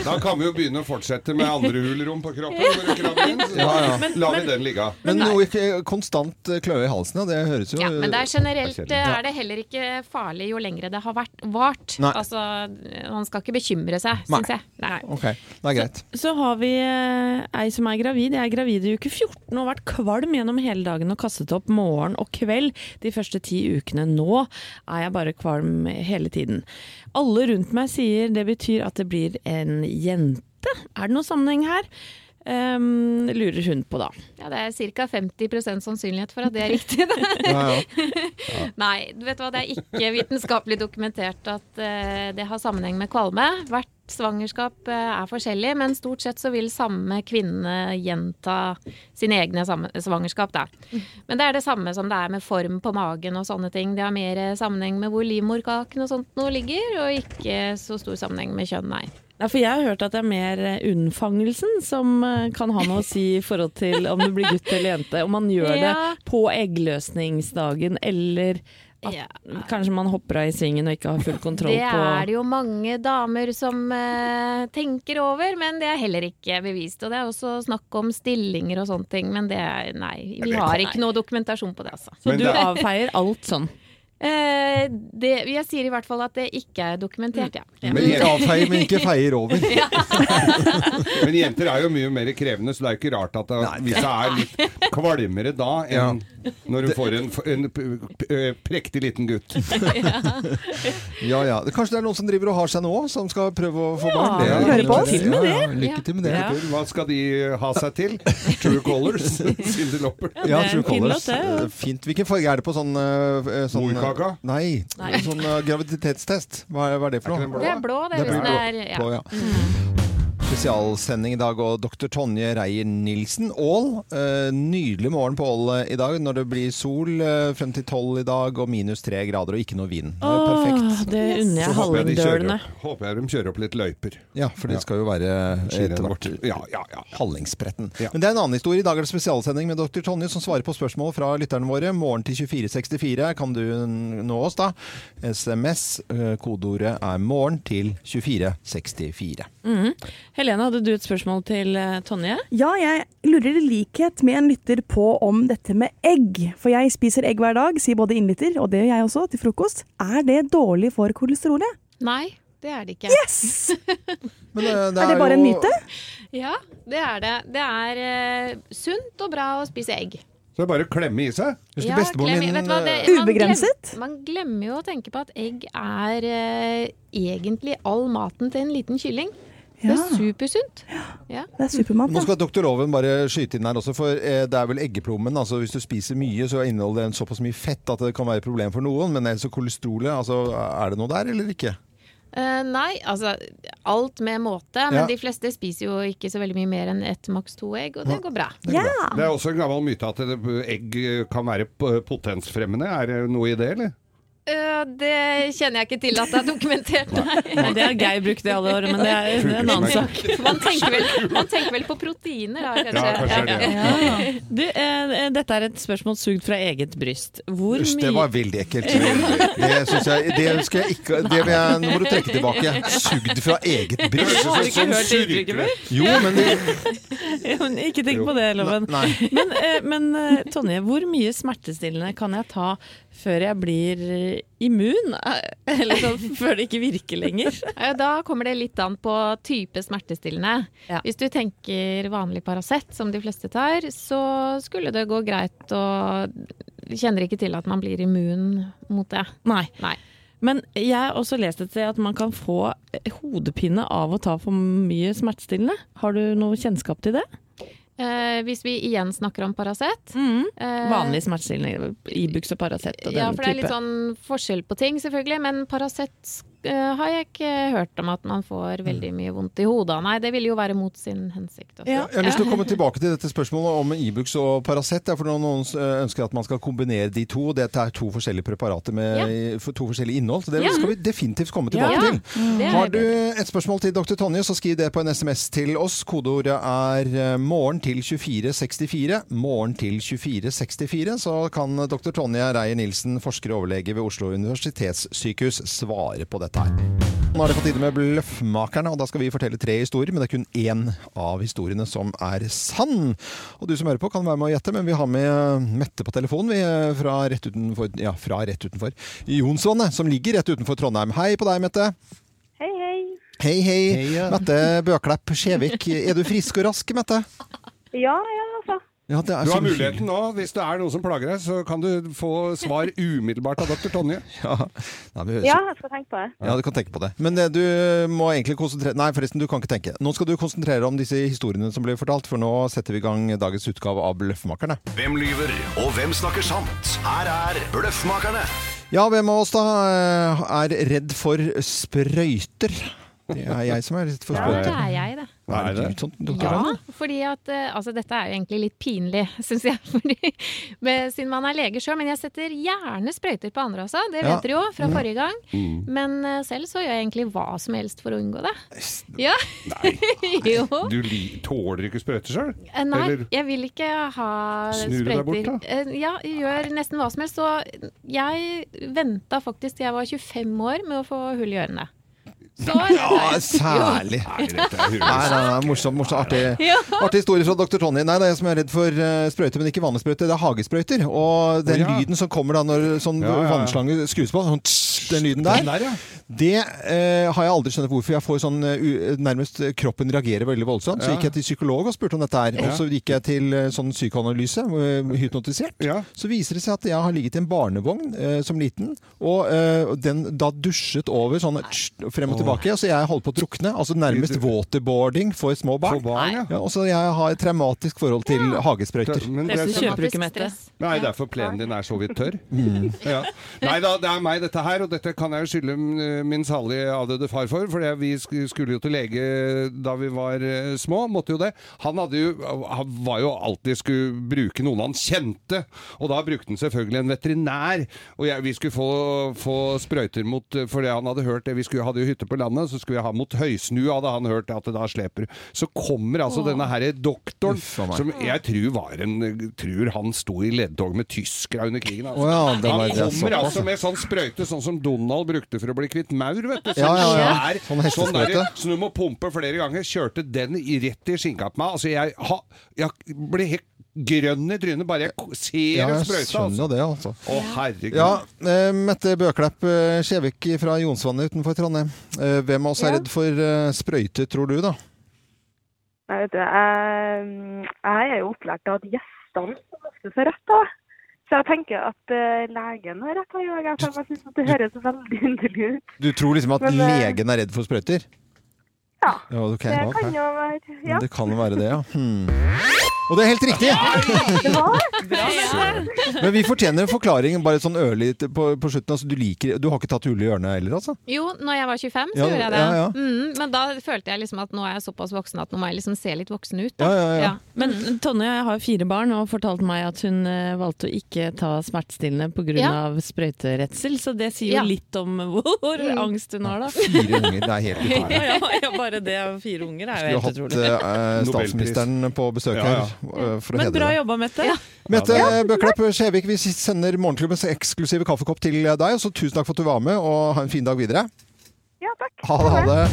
[SPEAKER 2] Da kan vi jo begynne å fortsette med andre hulrom på kroppen. hvor du krabber inn, Så da lar vi den ligge.
[SPEAKER 1] Men noe ikke- konstant eh, kløe i halsen, ja. Det høres jo
[SPEAKER 3] ja, men det er
[SPEAKER 2] Det er
[SPEAKER 3] generelt
[SPEAKER 2] kjedelig.
[SPEAKER 3] eh, er det heller ikke farlig jo lengre det har vært vart.
[SPEAKER 1] Nei.
[SPEAKER 3] Altså, man skal ikke bekymre seg,
[SPEAKER 1] Nei.
[SPEAKER 3] syns jeg. Nei.
[SPEAKER 1] Ok, det er greit.
[SPEAKER 4] Så har vi eh, ei som er gravid. Jeg er gravid i uke 14 og har vært kvalm gjennom hele dagen og kastet opp morgen og kveld de første ti ukene. Nå er jeg bare kvalm hele tiden. Alle rundt meg sier det betyr at det blir en jente. Er det noen sammenheng her? Ehm, lurer hun på, da.
[SPEAKER 3] Ja, det er ca. 50 sannsynlighet for at det er riktig. da.
[SPEAKER 1] Ja, ja.
[SPEAKER 3] Nei, du vet hva, det er ikke vitenskapelig dokumentert at eh, det har sammenheng med kvalme. Hvert svangerskap eh, er forskjellig, men stort sett så vil samme kvinne gjenta sine egne samme- svangerskap. Da. Men det er det samme som det er med form på magen og sånne ting. Det har mer eh, sammenheng med hvor livmorkaken og sånt nå ligger, og ikke så stor sammenheng med kjønn, nei.
[SPEAKER 4] Nei, for jeg har hørt at det er mer eh, unnfangelsen som eh, kan ha noe å si i forhold til om du blir gutt eller jente. Om man gjør
[SPEAKER 3] Ja.
[SPEAKER 4] det på eggløsningsdagen, eller at
[SPEAKER 3] Ja.
[SPEAKER 4] kanskje man hopper av i svingen og ikke har full kontroll
[SPEAKER 3] Det er
[SPEAKER 4] på
[SPEAKER 3] det jo mange damer som eh, tenker over, men det er heller ikke bevist. Og det er også snakk om stillinger og sånne ting, men det er Nei, vi
[SPEAKER 2] det
[SPEAKER 3] har
[SPEAKER 2] kan-
[SPEAKER 3] ikke noe dokumentasjon på det, altså.
[SPEAKER 4] Så
[SPEAKER 2] Men
[SPEAKER 4] du
[SPEAKER 2] det er-
[SPEAKER 4] avfeier alt sånn.
[SPEAKER 3] Eh, det, jeg sier i hvert fall at det ikke er dokumentert, ja. ja.
[SPEAKER 2] Men,
[SPEAKER 1] Ikke
[SPEAKER 2] jen-
[SPEAKER 1] avfeier, men ikke feier over.
[SPEAKER 2] men jenter er jo mye mer krevende, så det er ikke rart at det, hvis det er litt kvalmere da enn når hun får en, en p- p- prektig liten gutt.
[SPEAKER 1] Ja, ja. Kanskje det er noen som driver og har seg nå, som skal prøve å få barn.
[SPEAKER 2] Ja,
[SPEAKER 1] kan
[SPEAKER 2] hører
[SPEAKER 1] jo
[SPEAKER 2] på
[SPEAKER 1] være-
[SPEAKER 2] oss.
[SPEAKER 1] Ja, ja, Lykke til med det.
[SPEAKER 4] Ja.
[SPEAKER 2] Hva skal de ha seg til? True colors? Cyndi Lopper?
[SPEAKER 1] Ja,
[SPEAKER 4] det er
[SPEAKER 1] True
[SPEAKER 4] en fin
[SPEAKER 1] Colours.
[SPEAKER 4] låt, det, ja.
[SPEAKER 1] Eh, Fint. Hvilken farge er det på sånn, eh, sånn
[SPEAKER 2] Morkaka?
[SPEAKER 1] Nei, sånn eh, graviditetstest. Hva er, hva er det for
[SPEAKER 2] Er ikke
[SPEAKER 1] noe?
[SPEAKER 2] den blå?
[SPEAKER 3] Det er blå, det, er hvis det er ja.
[SPEAKER 1] Blå, ja. Spesialsending i dag, og dr. Tonje Reier Nilsen Aall. eh, nydelig morgen på Ål eh, i dag, når det blir sol eh, frem til tolv i dag, og minus tre grader og ikke noe vind. Det er
[SPEAKER 4] Åh,
[SPEAKER 1] perfekt.
[SPEAKER 4] det unner
[SPEAKER 2] Så
[SPEAKER 4] jeg
[SPEAKER 2] håper jeg, de kjører,
[SPEAKER 4] hallingdølene.
[SPEAKER 2] opp- håper jeg de kjører opp litt løyper.
[SPEAKER 1] Ja, for det skal jo være eh,
[SPEAKER 2] Skirenn
[SPEAKER 1] etter hvert
[SPEAKER 2] vårt. Ja, ja, ja.
[SPEAKER 1] Hallingsbretten.
[SPEAKER 2] Ja.
[SPEAKER 1] Men det er en annen historie. I dag er det spesialsending med dr. Tonje, som svarer på spørsmål fra lytterne våre. Morgen til 2464 kan du nå oss, da. SMS, eh, kodeordet er 'morgen' til 2464.
[SPEAKER 4] Helene, hadde du et spørsmål til eh, Tonje?
[SPEAKER 7] Ja, jeg lurer i likhet med en lytter på om dette med egg. For jeg spiser egg hver dag, sier både innlytter, og det gjør jeg også, til frokost. Er det dårlig for kolesterolet?
[SPEAKER 3] Nei, det er det ikke.
[SPEAKER 7] Yes!
[SPEAKER 1] Men, eh,
[SPEAKER 7] Er det bare en myte?
[SPEAKER 3] Ja, det er det. Det er eh, sunt og bra å spise egg.
[SPEAKER 2] Så det er bare å klemme i seg.
[SPEAKER 1] Husker
[SPEAKER 3] Ja,
[SPEAKER 1] bestemoren
[SPEAKER 3] glem-
[SPEAKER 1] min
[SPEAKER 3] vet du hva,
[SPEAKER 1] eh,
[SPEAKER 3] det- man
[SPEAKER 7] Ubegrenset?
[SPEAKER 3] glem- Man glemmer jo å tenke på at egg er eh, egentlig all maten til en liten kylling. Det
[SPEAKER 7] Ja,
[SPEAKER 3] er supersunt. Ja.
[SPEAKER 7] det er supermat.
[SPEAKER 1] Nå
[SPEAKER 7] Ja.
[SPEAKER 1] skal doktor Loven bare skyte inn her også, for eh, det er vel eggeplommen. altså Hvis du spiser mye, så inneholder den såpass mye fett at det kan være et problem for noen. Men ellers så kolesterolet, altså er det noe der eller ikke?
[SPEAKER 3] Eh, nei, altså alt med måte. Men
[SPEAKER 1] Ja.
[SPEAKER 3] de fleste spiser jo ikke så veldig mye mer enn ett, maks to egg, og det går bra.
[SPEAKER 7] Ja.
[SPEAKER 2] Det er også en gammel myte at det- egg kan være p- potensfremmende. Er det noe i det, eller?
[SPEAKER 3] Eh, det kjenner jeg ikke til at det er dokumentert, nei.
[SPEAKER 4] Nei, det har Geir brukt det alle år, men det er, det er en annen sak.
[SPEAKER 3] Man tenker vel, man tenker vel på proteiner, da, kanskje.
[SPEAKER 2] det. er det.
[SPEAKER 4] Du, eh, dette er et spørgsmål sugd fra eget bryst. Hvor
[SPEAKER 1] Usch, det
[SPEAKER 4] mye
[SPEAKER 1] var veldig ekkelt. Det synes jeg, det skal jeg ikke Det vil jeg, nå må du trekke tilbake. Sugd fra eget bryst.
[SPEAKER 4] Har du ikke hørt det uttrykket før?
[SPEAKER 1] Jo, men det,
[SPEAKER 4] Ja, men Ikke tenk
[SPEAKER 2] Jo.
[SPEAKER 4] på det, Loven.
[SPEAKER 1] Nei.
[SPEAKER 4] Men, eh, men eh, Tonje, hvor mye smertestillende kan jeg ta før jeg blir eh, immun? Eh, Eller sånn, før det ikke virker lenger?
[SPEAKER 3] Ja, Da kommer det litt an på type smertestillende.
[SPEAKER 4] Ja.
[SPEAKER 3] Hvis du tenker vanlig Paracet, som de fleste tar, så skulle det gå greit å Kjenner ikke til at man blir immun mot det.
[SPEAKER 4] Nei.
[SPEAKER 3] Nei.
[SPEAKER 4] Men jeg har også lest et sted at man kan få eh, hodepine av å ta for mye smertestillende. Har du noe kjennskap til det?
[SPEAKER 3] Eh, hvis vi igjen snakker om Paracet eh,
[SPEAKER 4] Vanlig smertestillende, Ibux og Paracet og den
[SPEAKER 3] Ja, for det er sånn
[SPEAKER 4] type.
[SPEAKER 3] litt sånn forskjell på ting, selvfølgelig. Men Paracet eh, har jeg ikke hørt om at man får veldig mye vondt i hodet av. Nei, det ville jo være mot sin hensikt. Også.
[SPEAKER 1] Jeg har lyst til å komme tilbake til dette spørsmålet om Ibux og Paracet. ja, For noen- noen eh, ønsker at man skal kombinere de to. Dette er to forskjellige preparater med for to forskjellige innhold. Så det
[SPEAKER 3] Ja.
[SPEAKER 1] skal vi definitivt komme tilbake
[SPEAKER 3] Ja.
[SPEAKER 1] til.
[SPEAKER 3] Det er
[SPEAKER 1] Har
[SPEAKER 3] helt
[SPEAKER 1] du et spørsmål til dr. Tonje, så skriv det på en SMS til oss. Kodeordet er eh, 'morgen til 2464'. Morgen til 2464, så kan dr. Tonje Reier-Nilsen, forsker og overlege ved Oslo universitetssykehus, svare på dette her. Nå er det på tide med Bløffmakerne, og da skal vi fortelle tre historier, men det er kun én av historiene som er sann. Og du som hører på kan være med å gjette, men vi har med Mette på telefonen vi, eh, fra rett utenfor, ja, fra rett utenfor Jonsvannet, som ligger rett utenfor Trondheim. Hei på deg, Mette.
[SPEAKER 8] Hei, hei.
[SPEAKER 1] Hei, hei.
[SPEAKER 2] Hei, ja.
[SPEAKER 1] Mette Bøklepp Skjevik. Er du frisk og rask, Mette?
[SPEAKER 8] Ja, ja, altså.
[SPEAKER 1] Ja, det er
[SPEAKER 2] Du
[SPEAKER 1] så
[SPEAKER 2] har muligheten nå. Hvis det er noen som plager deg, så kan du få svar umiddelbart av doktor Tonje.
[SPEAKER 1] Ja. Nei, men,
[SPEAKER 8] Ja, jeg skal tenke på det.
[SPEAKER 1] ja, du kan tenke på det. Men eh, du må egentlig konsentrere Nei, forresten, du kan ikke tenke. Nå skal du konsentrere deg om disse historiene som ble fortalt, for nå setter vi i gang dagens utgave av Bløffmakerne.
[SPEAKER 6] Hvem lyver, og hvem snakker sant? Her er Bløffmakerne.
[SPEAKER 1] Ja, hvem av oss da eh, er redd for sprøyter? Det er jeg som er redd for
[SPEAKER 3] Ja, det
[SPEAKER 1] sprøyter.
[SPEAKER 3] er jeg, det.
[SPEAKER 2] Hva er
[SPEAKER 1] Er det
[SPEAKER 2] det?
[SPEAKER 1] du som- doktor
[SPEAKER 3] Ja,
[SPEAKER 1] Ramm?
[SPEAKER 3] fordi at eh, Altså, dette er jo egentlig litt pinlig, syns jeg. Fordi, men- siden man er lege sjøl. Men jeg setter gjerne sprøyter på andre, altså. Det
[SPEAKER 1] Ja.
[SPEAKER 3] vet dere jo fra
[SPEAKER 2] Mm.
[SPEAKER 3] forrige gang. Men eh, selv så gjør jeg egentlig hva som helst for å unngå det. Ja.
[SPEAKER 2] Nei,
[SPEAKER 3] jo.
[SPEAKER 2] du li tåler ikke sprøyter sjøl?
[SPEAKER 3] Eh, Nei,
[SPEAKER 2] Eller-
[SPEAKER 3] jeg vil ikke ha
[SPEAKER 2] Snur du deg
[SPEAKER 3] sprøyter.
[SPEAKER 2] bort, da?
[SPEAKER 3] Eh, Ja, jeg gjør nesten hva som helst. Så jeg venta faktisk til jeg var 25 år med å få hull i ørene. Så
[SPEAKER 1] Ja, særlig.
[SPEAKER 2] Nei, dette er
[SPEAKER 1] Nei,
[SPEAKER 2] hurtig.
[SPEAKER 1] nei, nei, morsom, morsom, artig,
[SPEAKER 3] Ja.
[SPEAKER 1] artig historie fra dr. Tonje. Nei, det er jeg som er redd for eh, sprøyter, men ikke vanlige sprøyter. Det er hagesprøyter. Og den
[SPEAKER 2] Å, ja.
[SPEAKER 1] lyden som kommer da når sånn
[SPEAKER 2] Ja, ja, ja.
[SPEAKER 1] vannslange skrus på, sånn tss, den lyden der,
[SPEAKER 2] Den der, ja.
[SPEAKER 1] det eh, har jeg aldri skjønt hvorfor. Jeg får sånn eh, u, Nærmest kroppen reagerer veldig voldsomt. Så
[SPEAKER 2] Ja.
[SPEAKER 1] gikk jeg til psykolog og spurte om dette her.
[SPEAKER 2] Ja.
[SPEAKER 1] Og så gikk jeg til eh, sånn psykoanalyse, eh, hypnotisert.
[SPEAKER 2] Ja.
[SPEAKER 1] Så viser det seg at jeg har ligget i en barnevogn eh, som liten, og eh, den da dusjet over sånn tss, frem og tilbake. Så jeg holdt på å drukne. Altså nærmest waterboarding for små barn.
[SPEAKER 2] For barn, ja.
[SPEAKER 1] Ja, og så jeg har et traumatisk forhold til hagesprøyter.
[SPEAKER 2] Men
[SPEAKER 4] Det er
[SPEAKER 2] det
[SPEAKER 4] som
[SPEAKER 2] er
[SPEAKER 4] kjøper
[SPEAKER 3] Traumatisk
[SPEAKER 4] ikke Mette.
[SPEAKER 3] stress.
[SPEAKER 2] Nei, det er for plenen din er så vidt tørr. Ja. Nei da, det er meg dette her, og dette kan jeg jo skylde mm, min salige avdøde far for. For det- vi sk- skulle jo til lege da vi var eh, små, måtte jo det. Han, hadde jo, han var jo alltid skulle bruke noen han kjente, og da brukte han selvfølgelig en veterinær. Og jeg, vi skulle få, få sprøyter mot eh, Fordi han hadde hørt det, vi skulle, hadde jo hytte på landet, så skulle vi ha mot høysnu, hadde han hørt at det da sleper. Så kommer altså denne herre doktoren,
[SPEAKER 1] Uff a meg.
[SPEAKER 2] som jeg tror, var en, tror han sto i ledtog med tyskere under krigen. Altså.
[SPEAKER 1] Å ja, det var-
[SPEAKER 2] han
[SPEAKER 1] det er
[SPEAKER 2] kommer
[SPEAKER 1] såpass,
[SPEAKER 2] altså med sånn sprøyte, sånn som Donald brukte for å bli kvitt maur, vet du. Sånn
[SPEAKER 1] Ja, ja, ja.
[SPEAKER 2] svær,
[SPEAKER 1] Sånn hestesprøyte.
[SPEAKER 2] der- så du må pumpe flere ganger. Kjørte den i- rett i skinka på meg. Altså, jeg, ha, jeg ble helt grønn i trynet bare jeg k- ser
[SPEAKER 1] Ja,
[SPEAKER 2] en
[SPEAKER 1] jeg
[SPEAKER 2] sprøyte. Altså.
[SPEAKER 1] skjønner det, altså.
[SPEAKER 2] Å, herregud.
[SPEAKER 1] Ja, eh, Mette Bøklepp eh, Skjevik fra Jonsvannet utenfor Trondheim. Eh, hvem av oss er
[SPEAKER 8] Ja.
[SPEAKER 1] redd for eh, sprøyter, tror du, da?
[SPEAKER 8] Nei, vet du, jeg, jeg er jo opplært av at gjestene som ofte får rett av. Så jeg tenker at eh, legen har rett av jeg. Jeg synes at det høres veldig underlig ut.
[SPEAKER 1] Du tror liksom at
[SPEAKER 8] Men, eh,
[SPEAKER 1] legen er redd for sprøyter?
[SPEAKER 8] Ja,
[SPEAKER 1] Ja, ok.
[SPEAKER 8] det kan jo være.
[SPEAKER 1] Ja,
[SPEAKER 8] Ja,
[SPEAKER 1] Det kan jo være det, ja. Hmm. Og det er helt riktig!
[SPEAKER 8] det var
[SPEAKER 1] Men vi fortjener en forklaring bare sånn ørlite på, på slutten. Altså, du, liker, du har ikke tatt hull i ørene heller, altså?
[SPEAKER 3] Jo, når jeg var 25, så
[SPEAKER 1] Ja,
[SPEAKER 3] gjorde jeg det.
[SPEAKER 1] ja, ja.
[SPEAKER 3] Mm, men da følte jeg liksom at nå er jeg såpass voksen at nå må jeg liksom se litt voksen ut.
[SPEAKER 1] Ja,
[SPEAKER 3] Da.
[SPEAKER 1] ja, ja.
[SPEAKER 4] Men
[SPEAKER 3] Mm.
[SPEAKER 4] Tonje har jo fire barn og fortalte meg at hun eh, valgte å ikke ta smertestillende pga.
[SPEAKER 3] Ja.
[SPEAKER 4] av sprøyteredsel, så det sier jo
[SPEAKER 3] Ja. Mm.
[SPEAKER 4] litt om hvor angst hun har, da.
[SPEAKER 1] Fire unger, det er helt utrolig.
[SPEAKER 4] Ja, ja, bare det av fire unger er
[SPEAKER 1] Vi
[SPEAKER 4] jo
[SPEAKER 1] har
[SPEAKER 4] helt
[SPEAKER 1] hatt
[SPEAKER 4] utrolig.
[SPEAKER 1] eh, statsministeren på besøk
[SPEAKER 2] Ja,
[SPEAKER 1] her
[SPEAKER 2] ja.
[SPEAKER 1] eh, for å
[SPEAKER 4] Men
[SPEAKER 1] hedre
[SPEAKER 4] bra
[SPEAKER 1] det.
[SPEAKER 4] jobba, Mette.
[SPEAKER 1] Mette Bøklepp Skjevik, vi sender Morgenklubbens eksklusive kaffekopp til deg. Så tusen takk for at du var med, og ha en fin dag videre.
[SPEAKER 8] Ja, takk.
[SPEAKER 1] Ha det, ha det.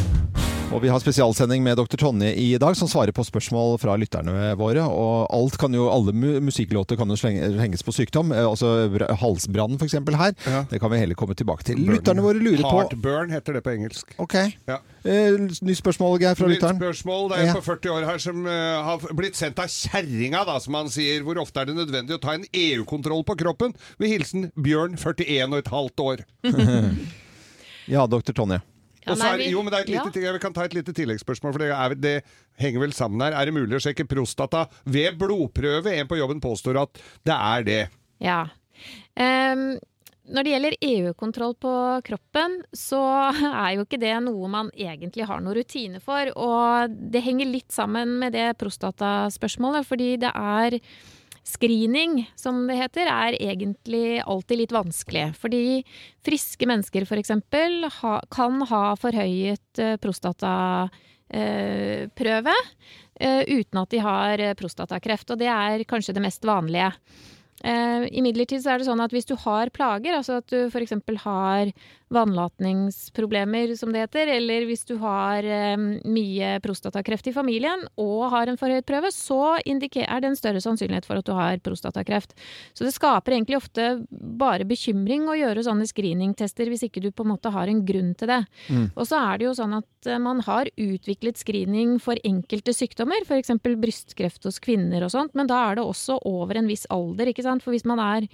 [SPEAKER 1] Og vi har spesialsending med dr. Tonje i dag, som svarer på spørsmål fra lytterne våre. Og alt kan jo, alle mu musikklåter kan jo slenge- henges på sykdom. Eh, Altså br- halsbrann, f.eks. her.
[SPEAKER 2] Ja.
[SPEAKER 1] Det kan vi heller komme tilbake til. Lytterne våre lurer på
[SPEAKER 2] Heartburn heter det på engelsk.
[SPEAKER 1] Ok.
[SPEAKER 2] Ja.
[SPEAKER 1] Eh, Nytt spørsmål, Geir, fra
[SPEAKER 2] Nytt
[SPEAKER 1] lytteren.
[SPEAKER 2] spørsmål. Det er en
[SPEAKER 1] Ja.
[SPEAKER 2] på 40 år her som eh, har blitt sendt av kjerringa, da, som han sier. Hvor ofte er det nødvendig å ta en EU-kontroll på kroppen? Med hilsen Bjørn, 41 og et halvt år.
[SPEAKER 1] Ja, dr. Tonje.
[SPEAKER 3] Ja,
[SPEAKER 2] Og så
[SPEAKER 3] nei,
[SPEAKER 2] er,
[SPEAKER 3] vi-
[SPEAKER 2] jo, men det er et lite,
[SPEAKER 3] ja.
[SPEAKER 2] ting- Vi kan ta et lite tilleggsspørsmål, for det, er, vel- det henger vel sammen her. Er det mulig å sjekke prostata ved blodprøve? En på jobben påstår at det er det.
[SPEAKER 3] Ja. Ehm, Når det gjelder EU-kontroll på kroppen, så er jo ikke det noe man egentlig har noen rutine for. Og det henger litt sammen med det prostataspørsmålet, fordi det er Screening, som det heter, er egentlig alltid litt vanskelig. Fordi friske mennesker f.eks. Ha, kan ha forhøyet eh, prostataprøve eh, uten at de har eh, prostatakreft. Og det er kanskje det mest vanlige. Eh, Imidlertid så er det sånn at hvis du har plager, altså at du f.eks. har vannlatningsproblemer, som det heter, eller hvis du har eh, mye prostatakreft i familien og har en forhøyet prøve, så indiker- er det en større sannsynlighet for at du har prostatakreft. Så det skaper egentlig ofte bare bekymring å gjøre sånne screeningtester hvis ikke du på en måte har en grunn til det. Og så er det jo sånn at eh, man har utviklet screening for enkelte sykdommer, f.eks. brystkreft hos kvinner og sånt, men da er det også over en viss alder, ikke sant. For hvis man er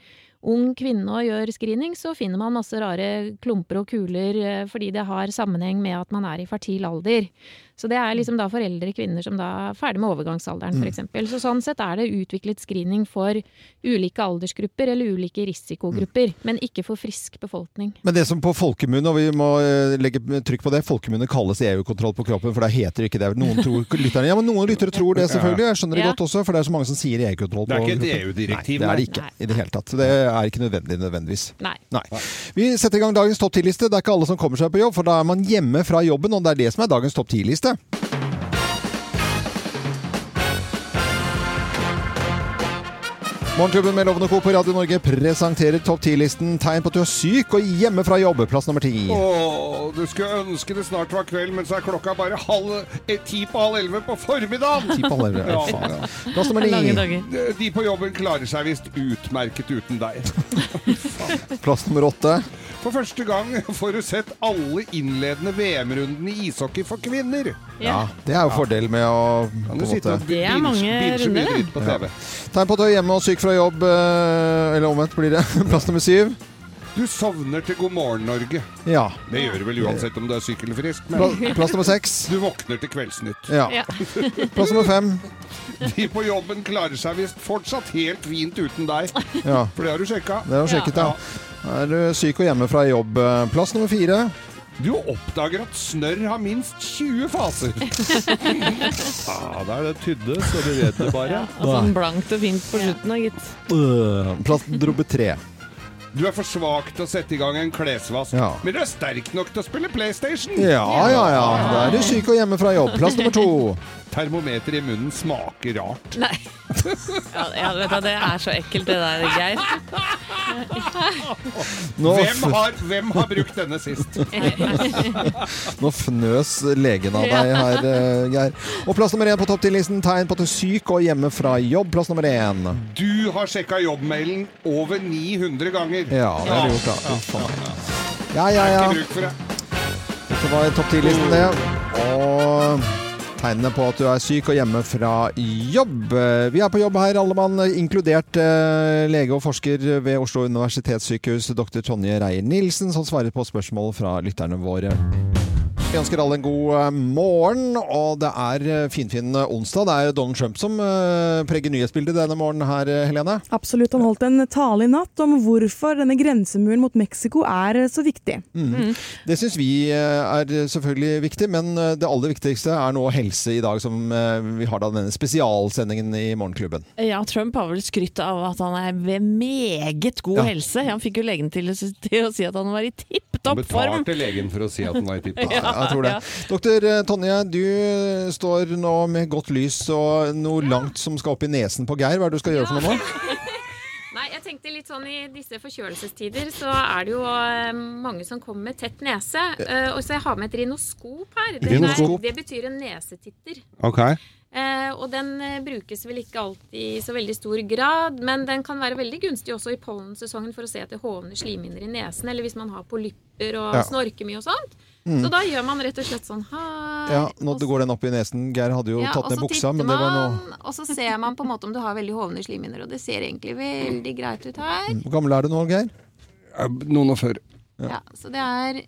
[SPEAKER 3] ung kvinne og gjør screening, så finner man masse rare klumper og kuler eh, fordi det har sammenheng med at man er i fertil alder. Så det er liksom da for eldre kvinner som da er ferdig med overgangsalderen f.eks. Så sånn sett er det utviklet screening for ulike aldersgrupper eller ulike risikogrupper, men ikke for frisk befolkning.
[SPEAKER 1] Men det som på folkemunne, og vi må eh, legge trykk på det, folkemunne kalles EU-kontroll på kroppen, for det heter ikke det. Noen, tror, lytterne, ja, men noen lyttere tror det, selvfølgelig. Jeg skjønner det
[SPEAKER 3] Ja.
[SPEAKER 1] godt også, for det er så mange som sier EU-kontroll.
[SPEAKER 2] Det er
[SPEAKER 1] på
[SPEAKER 2] ikke et
[SPEAKER 1] kroppen. Nei,
[SPEAKER 2] EU-direktiv,
[SPEAKER 1] det er det
[SPEAKER 2] nei.
[SPEAKER 1] ikke i det hele tatt. Det er ikke nødvendig nødvendigvis.
[SPEAKER 3] Nei.
[SPEAKER 1] Nei. Vi setter i gang dagens topp 10-liste. Det er ikke alle som kommer seg på jobb, for da er man hjemme fra jobben, og det er det som er dagens topp 10-liste. Morgenklubben med Loven og Co. på Radio Norge presenterer topp 10-listen tegn på at du er syk og hjemme fra jobb. Plass nummer ti.
[SPEAKER 2] Åh, du skulle ønske det snart var kveld, men så er klokka bare halv, eh, ti på halv elleve på formiddagen!
[SPEAKER 1] Ti på halv elleve.
[SPEAKER 2] Ja.
[SPEAKER 1] Faen, ja. Plass nummer
[SPEAKER 4] Lange
[SPEAKER 1] ni.
[SPEAKER 4] dager.
[SPEAKER 2] De de på jobben klarer seg visst utmerket uten deg.
[SPEAKER 1] Plass nummer åtte.
[SPEAKER 2] For første gang får du sett alle innledende VM-rundene i ishockey for kvinner.
[SPEAKER 1] Ja, det er jo fordel med å på
[SPEAKER 2] Kan
[SPEAKER 1] en
[SPEAKER 2] du sitte
[SPEAKER 1] måte.
[SPEAKER 2] og
[SPEAKER 4] Det er mange
[SPEAKER 2] binge mye
[SPEAKER 4] runder,
[SPEAKER 2] dritt på TV.
[SPEAKER 1] Tegn på at du er hjemme og syk fra jobb, eh, eller omvendt blir det. Plass nummer syv.
[SPEAKER 2] Du sovner til God morgen, Norge.
[SPEAKER 1] Ja.
[SPEAKER 2] Det gjør du vel uansett om du er syk eller frisk, men
[SPEAKER 1] Pla- Plass nummer seks.
[SPEAKER 2] du våkner til Kveldsnytt.
[SPEAKER 1] Ja.
[SPEAKER 3] Ja.
[SPEAKER 1] Plass nummer fem.
[SPEAKER 2] De på jobben klarer seg visst fortsatt helt fint uten deg,
[SPEAKER 1] Ja,
[SPEAKER 2] for det har du sjekka.
[SPEAKER 1] det er jo sjekket, ja. Er du syk og hjemme fra jobb? Plass nummer fire.
[SPEAKER 2] Du oppdager at snørr har minst 20 faser. ah, da er det tydde, så du vet det bare.
[SPEAKER 4] Og sånn blankt og fint på slutten da, gitt.
[SPEAKER 1] Øh, Plass droppe tre.
[SPEAKER 2] Du er for svak til å sette i gang en klesvask,
[SPEAKER 1] Ja.
[SPEAKER 2] men du er sterk nok til å spille PlayStation.
[SPEAKER 1] Ja, ja, ja. Da er du syk og hjemme fra jobb. Plass nummer to.
[SPEAKER 2] Termometer i munnen smaker rart.
[SPEAKER 4] Nei. Ja, ja, vet du, det er så ekkelt det der, Geir.
[SPEAKER 1] Nå, f
[SPEAKER 2] Hvem har, hvem har brukt denne sist?
[SPEAKER 1] nå fnøs legen av deg her, eh, Geir. Og plass nummer én på topp 10-listen. Tegn på at du er syk og hjemme fra jobb. Plass nummer én.
[SPEAKER 2] Du har sjekka jobbmailen over 900 ganger.
[SPEAKER 1] Ja, det har du gjort, da. Fy faen. Ja, ja, ja.
[SPEAKER 2] Ikke bruk for det.
[SPEAKER 1] Det var topp 10-listen, det. Og tegnene på at du er syk og hjemme fra jobb. Vi er på jobb her, alle mann, inkludert eh, lege og forsker ved Oslo universitetssykehus, dr. Tonje Reier-Nilsen, som svarer på spørsmål fra lytterne våre. Vi ønsker alle en god eh, morgen, og det er eh, finfin onsdag. Det er jo Donald Trump som eh, preger nyhetsbildet denne morgenen her, eh, Helene.
[SPEAKER 7] Absolutt. Han holdt en tale i natt om hvorfor denne grensemuren mot Mexico er så viktig.
[SPEAKER 1] Det syns vi eh, er selvfølgelig viktig, men eh, det aller viktigste er nå helse i dag, som eh, vi har da denne spesialsendingen i Morgenklubben.
[SPEAKER 4] Ja, Trump har vel skrytt av at han er ved meget god
[SPEAKER 1] Ja.
[SPEAKER 4] helse. Han fikk jo legen til, å s- til å si at han var i tipp
[SPEAKER 2] Han
[SPEAKER 4] topp form.
[SPEAKER 2] betalte legen for å si at den var i tipp.
[SPEAKER 1] Ja, jeg tror det. Doktor eh, Tonje, du eh, står nå med godt lys og noe langt som skal opp i nesen på Geir. Hva er det du skal gjøre for noe nå?
[SPEAKER 3] Nei, jeg tenkte litt sånn I disse forkjølelsestider så er det jo eh, mange som kommer med tett nese. Eh, og så jeg har med et rhinoskop her. Den
[SPEAKER 2] Rhinoskop?
[SPEAKER 3] Er, det betyr en nesetitter.
[SPEAKER 2] Ok.
[SPEAKER 3] Eh, og den eh, brukes vel ikke alltid i så veldig stor grad, men den kan være veldig gunstig også i pollensesongen for å se etter hovne slimhinner i nesen, eller hvis man har polypper og
[SPEAKER 1] Ja. Mm.
[SPEAKER 3] snorker mye og sånt. Så da gjør man rett og slett sånn her.
[SPEAKER 1] Ja, nå
[SPEAKER 3] og
[SPEAKER 1] går den opp i nesen. Geir hadde jo
[SPEAKER 3] ja,
[SPEAKER 1] tatt
[SPEAKER 3] og
[SPEAKER 1] ned
[SPEAKER 3] så
[SPEAKER 1] buksa,
[SPEAKER 3] titter
[SPEAKER 1] men det var
[SPEAKER 3] man,
[SPEAKER 1] noe
[SPEAKER 3] Og så ser man på en måte om du har veldig hovne slimhinner, og det ser egentlig veldig greit ut her.
[SPEAKER 1] Hvor gammel er du nå, Geir?
[SPEAKER 2] Noen og før.
[SPEAKER 3] Ja, så det er,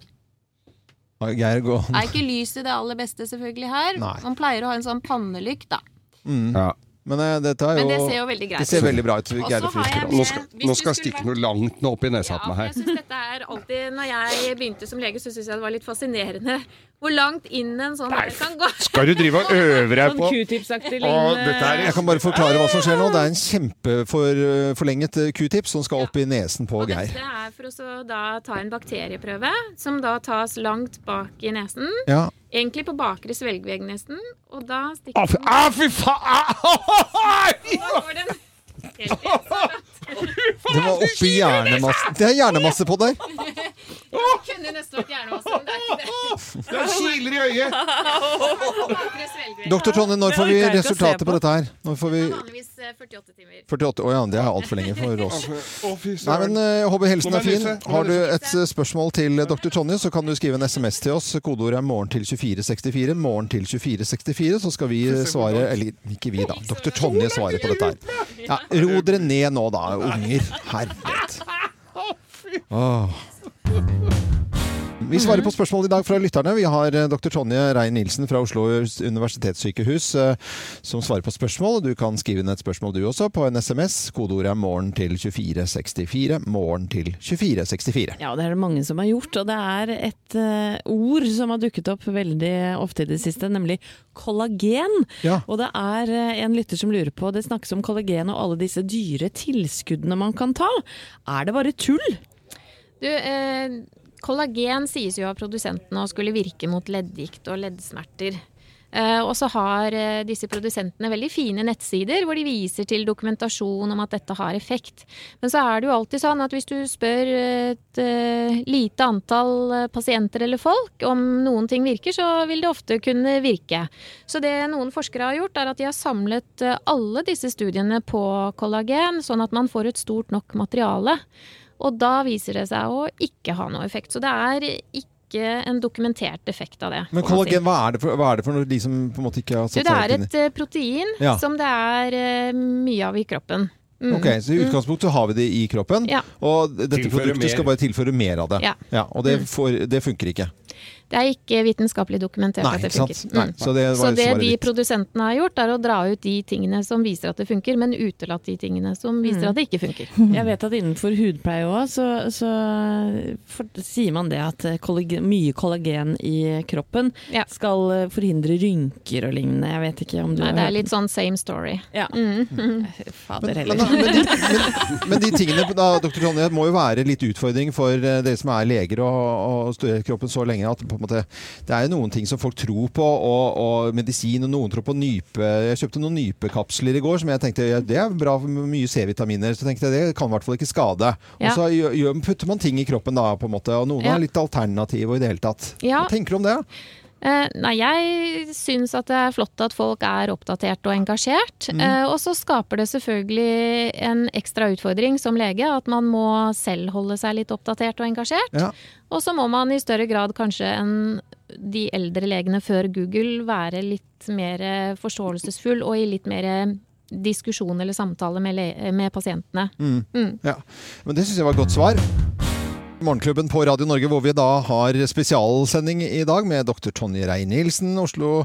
[SPEAKER 1] Ja, Geir går
[SPEAKER 3] er ikke lyset det aller beste selvfølgelig her.
[SPEAKER 1] Nei.
[SPEAKER 2] Mm.
[SPEAKER 3] Man pleier å ha en sånn pannelykt, da.
[SPEAKER 2] Ja.
[SPEAKER 1] Men eh, dette er jo
[SPEAKER 3] Men det ser jo veldig greit
[SPEAKER 1] det ser veldig bra ut.
[SPEAKER 3] Og så
[SPEAKER 1] Geir
[SPEAKER 3] har
[SPEAKER 1] Frisk.
[SPEAKER 3] jeg
[SPEAKER 2] Nå skal,
[SPEAKER 3] Hvis
[SPEAKER 2] nå
[SPEAKER 3] du
[SPEAKER 2] skal
[SPEAKER 3] skulle
[SPEAKER 2] stikke noe langt nå opp i nesa på meg
[SPEAKER 3] Ja, for
[SPEAKER 2] her.
[SPEAKER 3] jeg synes dette er alltid, når jeg begynte som lege, så syntes jeg det var litt fascinerende hvor langt inn en sånn her kan gå.
[SPEAKER 2] Skal du drive og øve deg
[SPEAKER 4] Sånn
[SPEAKER 2] på
[SPEAKER 4] q-tips-aktig
[SPEAKER 2] Å,
[SPEAKER 4] lignende.
[SPEAKER 2] dette er
[SPEAKER 1] Jeg kan bare forklare hva som skjer nå. Det er en kjempeforlenget eh, q-tips som skal opp i nesen på
[SPEAKER 3] Og
[SPEAKER 1] Geir.
[SPEAKER 3] dette er for å så da ta en bakterieprøve, som da tas langt bak i nesen.
[SPEAKER 1] Ja.
[SPEAKER 3] Egentlig på bakre svelgvegg nesten. Og da
[SPEAKER 2] Å,
[SPEAKER 3] stikker
[SPEAKER 2] fy- Å, Ah, fy faen!
[SPEAKER 3] Da går den helt inn.
[SPEAKER 1] Det var oppi hjernemassen. Det er hjernemasse på deg!
[SPEAKER 3] Kunne nesten vært hjernemasse, men det er ikke det.
[SPEAKER 2] Det kiler i øyet!
[SPEAKER 3] Bakre svelgvegg.
[SPEAKER 1] Doktor Tonje, når får vi
[SPEAKER 4] orker jeg ikke å se
[SPEAKER 1] resultatet på
[SPEAKER 4] på.
[SPEAKER 1] dette her? Når får vi
[SPEAKER 3] Vanligvis eh, 48 timer.
[SPEAKER 1] 48 Å ja, det er altfor lenge for oss.
[SPEAKER 2] Å, fy
[SPEAKER 1] Nei, men
[SPEAKER 2] søren.
[SPEAKER 1] eh, jeg Håper helsen
[SPEAKER 2] Nå
[SPEAKER 1] er
[SPEAKER 2] må jeg
[SPEAKER 1] fin.
[SPEAKER 2] nyse, nå må
[SPEAKER 1] Har du
[SPEAKER 2] jeg
[SPEAKER 1] et eh, spørsmål til eh, dr. Tonje, så kan du skrive en SMS til oss. Kodeordet er 'morgen til 2464'. Morgen til 2464, så skal vi eh, svare Eller ikke vi, da. Dr. Tonje svarer på dette her. Ja, ro dere ned nå, da, unger. Herlighet. Åh. Vi svarer på spørsmål i dag fra lytterne. Vi har eh, dr. Tonje Rein-Nilsen fra Oslo universitetssykehus eh, som svarer på spørsmål. Du kan skrive inn et spørsmål du også på en SMS. Kodeordet er 'morgen til 2464'. Morgen til 2464.
[SPEAKER 4] Ja, det er det mange som har gjort, og det er et eh, ord som har dukket opp veldig ofte i det siste, nemlig kollagen.
[SPEAKER 1] Ja.
[SPEAKER 4] Og det er eh, en lytter som lurer på, det snakkes om kollagen og alle disse dyre tilskuddene man kan ta. Er det bare tull?
[SPEAKER 3] Du, eh, kollagen sies jo av produsentene å skulle virke mot leddgikt og leddsmerter. Eh, og så har eh, disse produsentene veldig fine nettsider hvor de viser til dokumentasjon om at dette har effekt. Men så er det jo alltid sånn at hvis du spør et eh, lite antall eh, pasienter eller folk om noen ting virker, så vil det ofte kunne virke. Så det noen forskere har gjort, er at de har samlet eh, alle disse studiene på kollagen, sånn at man får et stort nok materiale. Og da viser det seg å ikke ha noe effekt. Så det er ikke en dokumentert effekt av det.
[SPEAKER 1] Men
[SPEAKER 3] kan man si.
[SPEAKER 1] kollagen, hva er det for, hva er det for noe de som på en måte ikke har
[SPEAKER 3] Du,
[SPEAKER 1] satt
[SPEAKER 3] det
[SPEAKER 1] seg
[SPEAKER 3] er
[SPEAKER 1] inn i?
[SPEAKER 3] et eh, protein
[SPEAKER 1] Ja.
[SPEAKER 3] som det er eh, mye av i kroppen. Mm.
[SPEAKER 1] Ok, Så i utgangspunktet har vi det i kroppen,
[SPEAKER 3] Ja.
[SPEAKER 1] og dette
[SPEAKER 2] Tilføre
[SPEAKER 1] produktet
[SPEAKER 2] mer.
[SPEAKER 1] skal bare tilføre mer av det.
[SPEAKER 3] Ja. Mm.
[SPEAKER 1] og det, får, det funker ikke.
[SPEAKER 3] Det er ikke vitenskapelig dokumentert
[SPEAKER 1] Nei,
[SPEAKER 3] at det
[SPEAKER 1] ikke sant?
[SPEAKER 3] funker.
[SPEAKER 1] Nei,
[SPEAKER 3] Mm.
[SPEAKER 1] så det var
[SPEAKER 3] Så det
[SPEAKER 1] svaret
[SPEAKER 3] de
[SPEAKER 1] ditt.
[SPEAKER 3] produsentene har gjort, er å dra ut de tingene som viser at det funker, men utelatt de tingene som viser at det ikke funker.
[SPEAKER 4] Jeg vet at innenfor hudpleie òg, så, så eh, for, sier man det at kollagen, mye kollagen i kroppen
[SPEAKER 3] Ja.
[SPEAKER 4] skal eh, forhindre rynker og lignende. Jeg vet ikke om du
[SPEAKER 3] Nei, det
[SPEAKER 4] har
[SPEAKER 3] er litt Mm. sånn same story.
[SPEAKER 4] ja. Fader
[SPEAKER 1] Men,
[SPEAKER 4] heller.
[SPEAKER 1] men, men, de, men, men de tingene da, Dr. Tonje, må jo være litt utfordring for eh, dere som er leger og, og studerer kroppen så lenge. at på en måte, Det er jo noen ting som folk tror på, og, og medisin, og noen tror på nype. Jeg kjøpte noen nypekapsler i går som jeg tenkte ja, det er bra for mye C-vitaminer. Så tenkte jeg det kan i hvert fall ikke skade.
[SPEAKER 3] Ja.
[SPEAKER 1] Og så gjør- gjør- putter man ting i kroppen da, på en måte. Og noen
[SPEAKER 3] Ja.
[SPEAKER 1] er litt alternative og i det hele tatt.
[SPEAKER 3] Ja.
[SPEAKER 1] Hva tenker du om det?
[SPEAKER 3] Eh, Nei, jeg syns at det er flott at folk er oppdatert og engasjert.
[SPEAKER 2] Mm.
[SPEAKER 3] Eh, og så skaper det selvfølgelig en ekstra utfordring som lege, at man må selv holde seg litt oppdatert og engasjert.
[SPEAKER 1] Ja.
[SPEAKER 3] Og så må man i større grad kanskje enn de eldre legene før Google være litt mer eh, forståelsesfull og i litt mer eh, diskusjon eller samtale med, le med pasientene.
[SPEAKER 2] Mm.
[SPEAKER 1] Ja, men det syns jeg var et godt svar. Morgenklubben på Radio Norge, hvor vi da har spesialsending i dag med dr. Tonje Rein-Nielsen, Oslo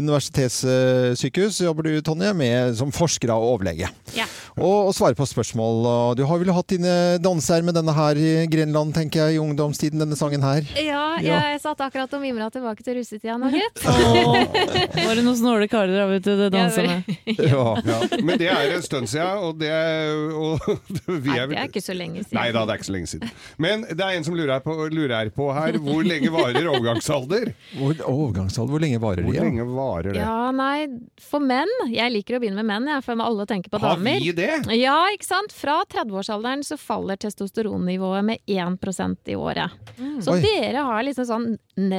[SPEAKER 1] universitetssykehus. Jobber du, Tonje, med, som forsker og overlege.
[SPEAKER 3] Ja.
[SPEAKER 1] Og, og svarer på spørsmål. Og du har vel hatt dine danser med denne her i Grenland, tenker jeg, i ungdomstiden, denne sangen her.
[SPEAKER 3] Ja,
[SPEAKER 1] Ja.
[SPEAKER 3] jeg satt akkurat og mimra tilbake til russetida nå, gitt.
[SPEAKER 4] Åh, var det noen snåle karer der ute det dansa
[SPEAKER 3] Ja,
[SPEAKER 4] med?
[SPEAKER 1] Ja.
[SPEAKER 2] Ja, men det er en stund siden, og det og vi
[SPEAKER 3] Nei,
[SPEAKER 2] er
[SPEAKER 3] det er ikke så lenge siden.
[SPEAKER 2] Nei da, det er ikke så lenge siden. Men det er en som lurer her på, lurer på her hvor lenge varer overgangsalder?
[SPEAKER 1] Hvor, overgangsalder, hvor lenge varer
[SPEAKER 2] Hvor
[SPEAKER 1] det? Ja?
[SPEAKER 2] lenge varer det?
[SPEAKER 3] Ja, nei, for menn. Jeg liker å begynne med menn, jeg, for alle tenker på
[SPEAKER 2] Har
[SPEAKER 3] damer.
[SPEAKER 2] vi det?
[SPEAKER 3] Ja, ikke sant? Fra 30-årsalderen så faller testosteronnivået med 1 i året. Så
[SPEAKER 1] Oi.
[SPEAKER 3] dere har liksom sånn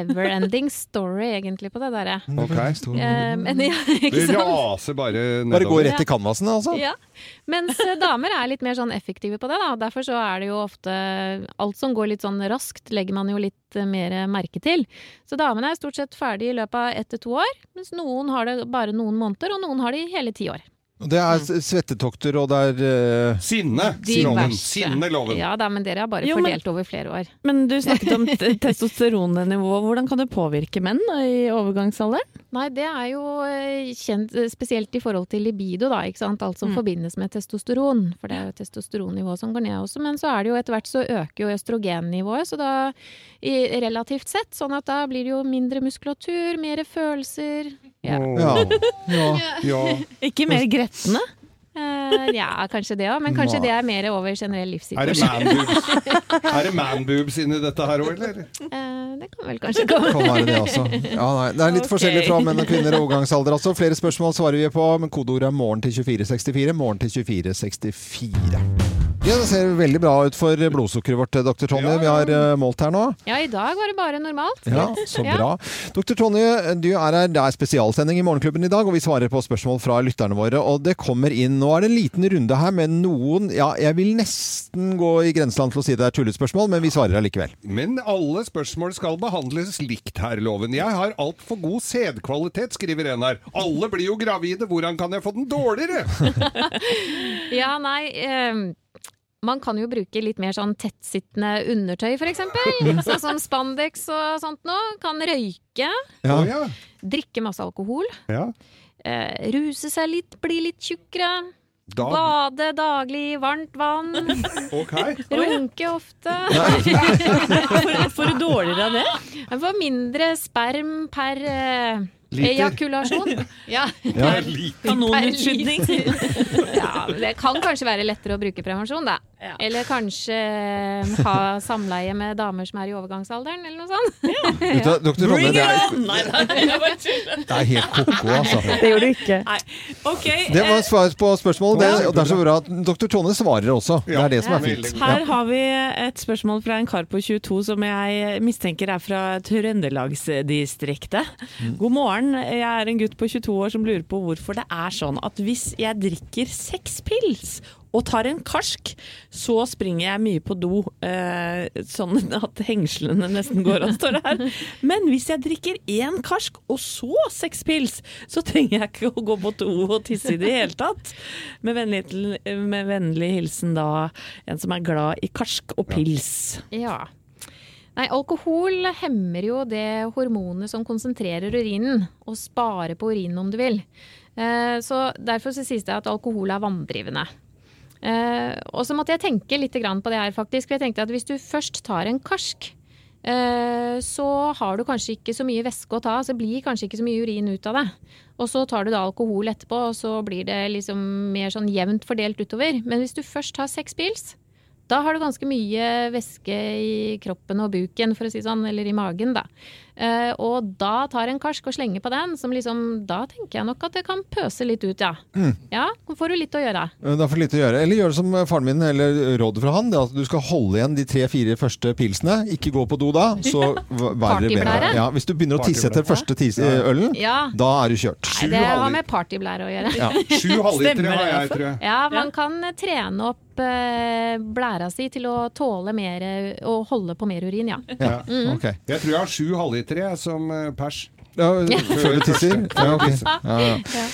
[SPEAKER 3] never-ending story egentlig på det derre.
[SPEAKER 2] Ok.
[SPEAKER 3] Eh, men ja, ikke
[SPEAKER 2] Det
[SPEAKER 3] sant?
[SPEAKER 2] raser bare
[SPEAKER 1] Bare gå
[SPEAKER 2] nedover.
[SPEAKER 1] rett i canvasen, altså?
[SPEAKER 3] Ja. Mens eh, damer er litt mer sånn effektive på det, da. Derfor så er det jo ofte Alt som går litt sånn raskt, legger man jo litt eh, mer eh, merke til. Så damene er stort sett ferdig i løpet av ett til to år, mens noen har det bare noen måneder, og noen har det i hele ti år.
[SPEAKER 1] Det er s- svettetokter, og det er eh,
[SPEAKER 2] Sinne,
[SPEAKER 3] De
[SPEAKER 2] loven.
[SPEAKER 3] verste.
[SPEAKER 2] Sinne, loven.
[SPEAKER 3] Ja da, men dere er bare
[SPEAKER 4] Jo, men-
[SPEAKER 3] fordelt over flere år.
[SPEAKER 4] Men du snakket om t- testosteronnivå. Hvordan kan det påvirke menn i overgangsalderen?
[SPEAKER 3] Nei, det er jo eh, kjent eh, spesielt i forhold til libido, da. Ikke sant? Alt som
[SPEAKER 4] Mm.
[SPEAKER 3] forbindes med testosteron. For det er jo testosteronnivået som går ned også. Men så er det jo etter hvert så øker jo østrogennivået, så da i, relativt sett. Sånn at da blir det jo mindre muskulatur, mer følelser. Ja.
[SPEAKER 2] Åh,
[SPEAKER 1] Ja. ja.
[SPEAKER 2] ja.
[SPEAKER 4] Ikke mer gretne.
[SPEAKER 3] Eh, ja, kanskje det òg. Men kanskje det er mer over generell
[SPEAKER 2] Er det
[SPEAKER 3] livssituasjon.
[SPEAKER 2] man boobs? Er det man boobs inni dette her òg, eller?
[SPEAKER 3] Eh, det kan vel kanskje komme.
[SPEAKER 1] Kan være det også. Ja, nei, det er litt
[SPEAKER 4] Ok.
[SPEAKER 1] forskjellig fra menn og kvinner og overgangsalder. Altså. Flere spørsmål svarer vi på, men kodeordet er 'morgen til 2464'. Morgen til 2464. Ja, det ser veldig bra ut for blodsukkeret vårt, dr. Tonje. Vi har eh, målt her nå.
[SPEAKER 3] Ja, i dag var det bare normalt.
[SPEAKER 1] Ja, Så bra. Dr. Tonje, du er her. Det er spesialsending i Morgenklubben i dag, og vi svarer på spørsmål fra lytterne våre. Og det kommer inn Nå er det en liten runde her med noen Ja, jeg vil nesten gå i grenseland til å si det er tullespørsmål, men vi svarer allikevel.
[SPEAKER 2] Men alle spørsmål skal behandles likt her, loven. Jeg har altfor god sædkvalitet, skriver en her. Alle blir jo gravide, hvordan kan jeg få den dårligere?
[SPEAKER 3] Ja, nei ehm, Man kan jo bruke litt mer sånn tettsittende undertøy, f.eks. Sånn som spandex og sånt noe. Kan røyke.
[SPEAKER 1] Ja.
[SPEAKER 2] Å, ja.
[SPEAKER 3] Drikke masse alkohol.
[SPEAKER 2] ja.
[SPEAKER 3] eh, ruse seg litt, bli litt tjukkere.
[SPEAKER 2] Da,
[SPEAKER 3] Bade daglig i varmt vann.
[SPEAKER 2] ok.
[SPEAKER 3] Runke ofte.
[SPEAKER 4] Får du dårligere av det?
[SPEAKER 3] Få mindre sperm per eh,
[SPEAKER 2] Liter.
[SPEAKER 3] ejakulasjon.
[SPEAKER 1] Ja.
[SPEAKER 3] Ja.
[SPEAKER 2] Det er lite.
[SPEAKER 4] Kanonutskyting.
[SPEAKER 3] ja, men det kan kanskje være lettere å bruke prevensjon, da.
[SPEAKER 4] Ja.
[SPEAKER 3] Eller kanskje eh, ha samleie med damer som er i overgangsalderen, eller noe sånt.
[SPEAKER 1] Vet du hva, Dr. Tonje,
[SPEAKER 4] Bring
[SPEAKER 1] det
[SPEAKER 4] it
[SPEAKER 1] er,
[SPEAKER 4] on! Nei, nei, jeg bare tuller.
[SPEAKER 1] det er helt ko-ko, altså.
[SPEAKER 7] Det gjør du ikke.
[SPEAKER 4] Nei. Ok,
[SPEAKER 1] Det var
[SPEAKER 4] eh,
[SPEAKER 1] svar på spørsmålet. Det,
[SPEAKER 2] Ja.
[SPEAKER 1] og det er så bra at dr. Tonje svarer også. Det
[SPEAKER 2] Ja.
[SPEAKER 1] er det som er fint.
[SPEAKER 2] Veldig bra.
[SPEAKER 4] her har vi et spørsmål fra en kar på 22 som jeg mistenker er fra Trøndelagsdistriktet.
[SPEAKER 1] Mm.
[SPEAKER 4] God morgen, jeg er en gutt på 22 år som lurer på hvorfor det er sånn at hvis jeg drikker seks pils og tar en karsk, så springer jeg mye på do, eh, sånn at hengslene nesten går av, står det her. Men hvis jeg drikker én karsk og så seks pils, så trenger jeg ikke å gå på do og tisse i det hele tatt. Med vennlig, med vennlig hilsen da en som er glad i karsk og pils.
[SPEAKER 3] Ja. Nei, alkohol hemmer jo det hormonet som konsentrerer urinen, og sparer på urinen om du vil. Eh, Så derfor så sies det at alkohol er vanndrivende. Eh, Og så måtte jeg tenke litt grann på det her, faktisk. For jeg tenkte at hvis du først tar en karsk, eh, så har du kanskje ikke så mye væske å ta, så blir kanskje ikke så mye urin ut av det. Og så tar du da alkohol etterpå, og så blir det liksom mer sånn jevnt fordelt utover. Men hvis du først har seks pils, da har du ganske mye væske i kroppen og buken, for å si det sånn, eller i magen, da. Eh, og da tar en karsk og slenger på den, som liksom Da tenker jeg nok at det kan pøse litt ut, ja. Ja, nå får du litt å gjøre.
[SPEAKER 1] Det er for lite å gjøre. Eller gjør det som faren min, eller rådet fra han. Det er at du skal holde igjen de tre-fire første pilsene. Ikke gå på do da, så vær det bedre.
[SPEAKER 3] Partyblære?
[SPEAKER 1] Ja, hvis du begynner å tisse etter første tis ølen,
[SPEAKER 3] Ja.
[SPEAKER 1] da er du kjørt.
[SPEAKER 3] Nei, det har med partyblære å gjøre.
[SPEAKER 2] Sju halvlitere
[SPEAKER 4] Stemmer
[SPEAKER 2] har
[SPEAKER 4] det, altså?
[SPEAKER 2] jeg, tror jeg.
[SPEAKER 3] Ja, man kan trene opp eh, blæra si til å tåle mer eh, og holde på mer urin, ja.
[SPEAKER 1] Ja. ok.
[SPEAKER 2] Jeg tror jeg har sju halvlitere jeg, som eh, pers.
[SPEAKER 1] Ja, før du tisser? Ja, ok. Ja, ja.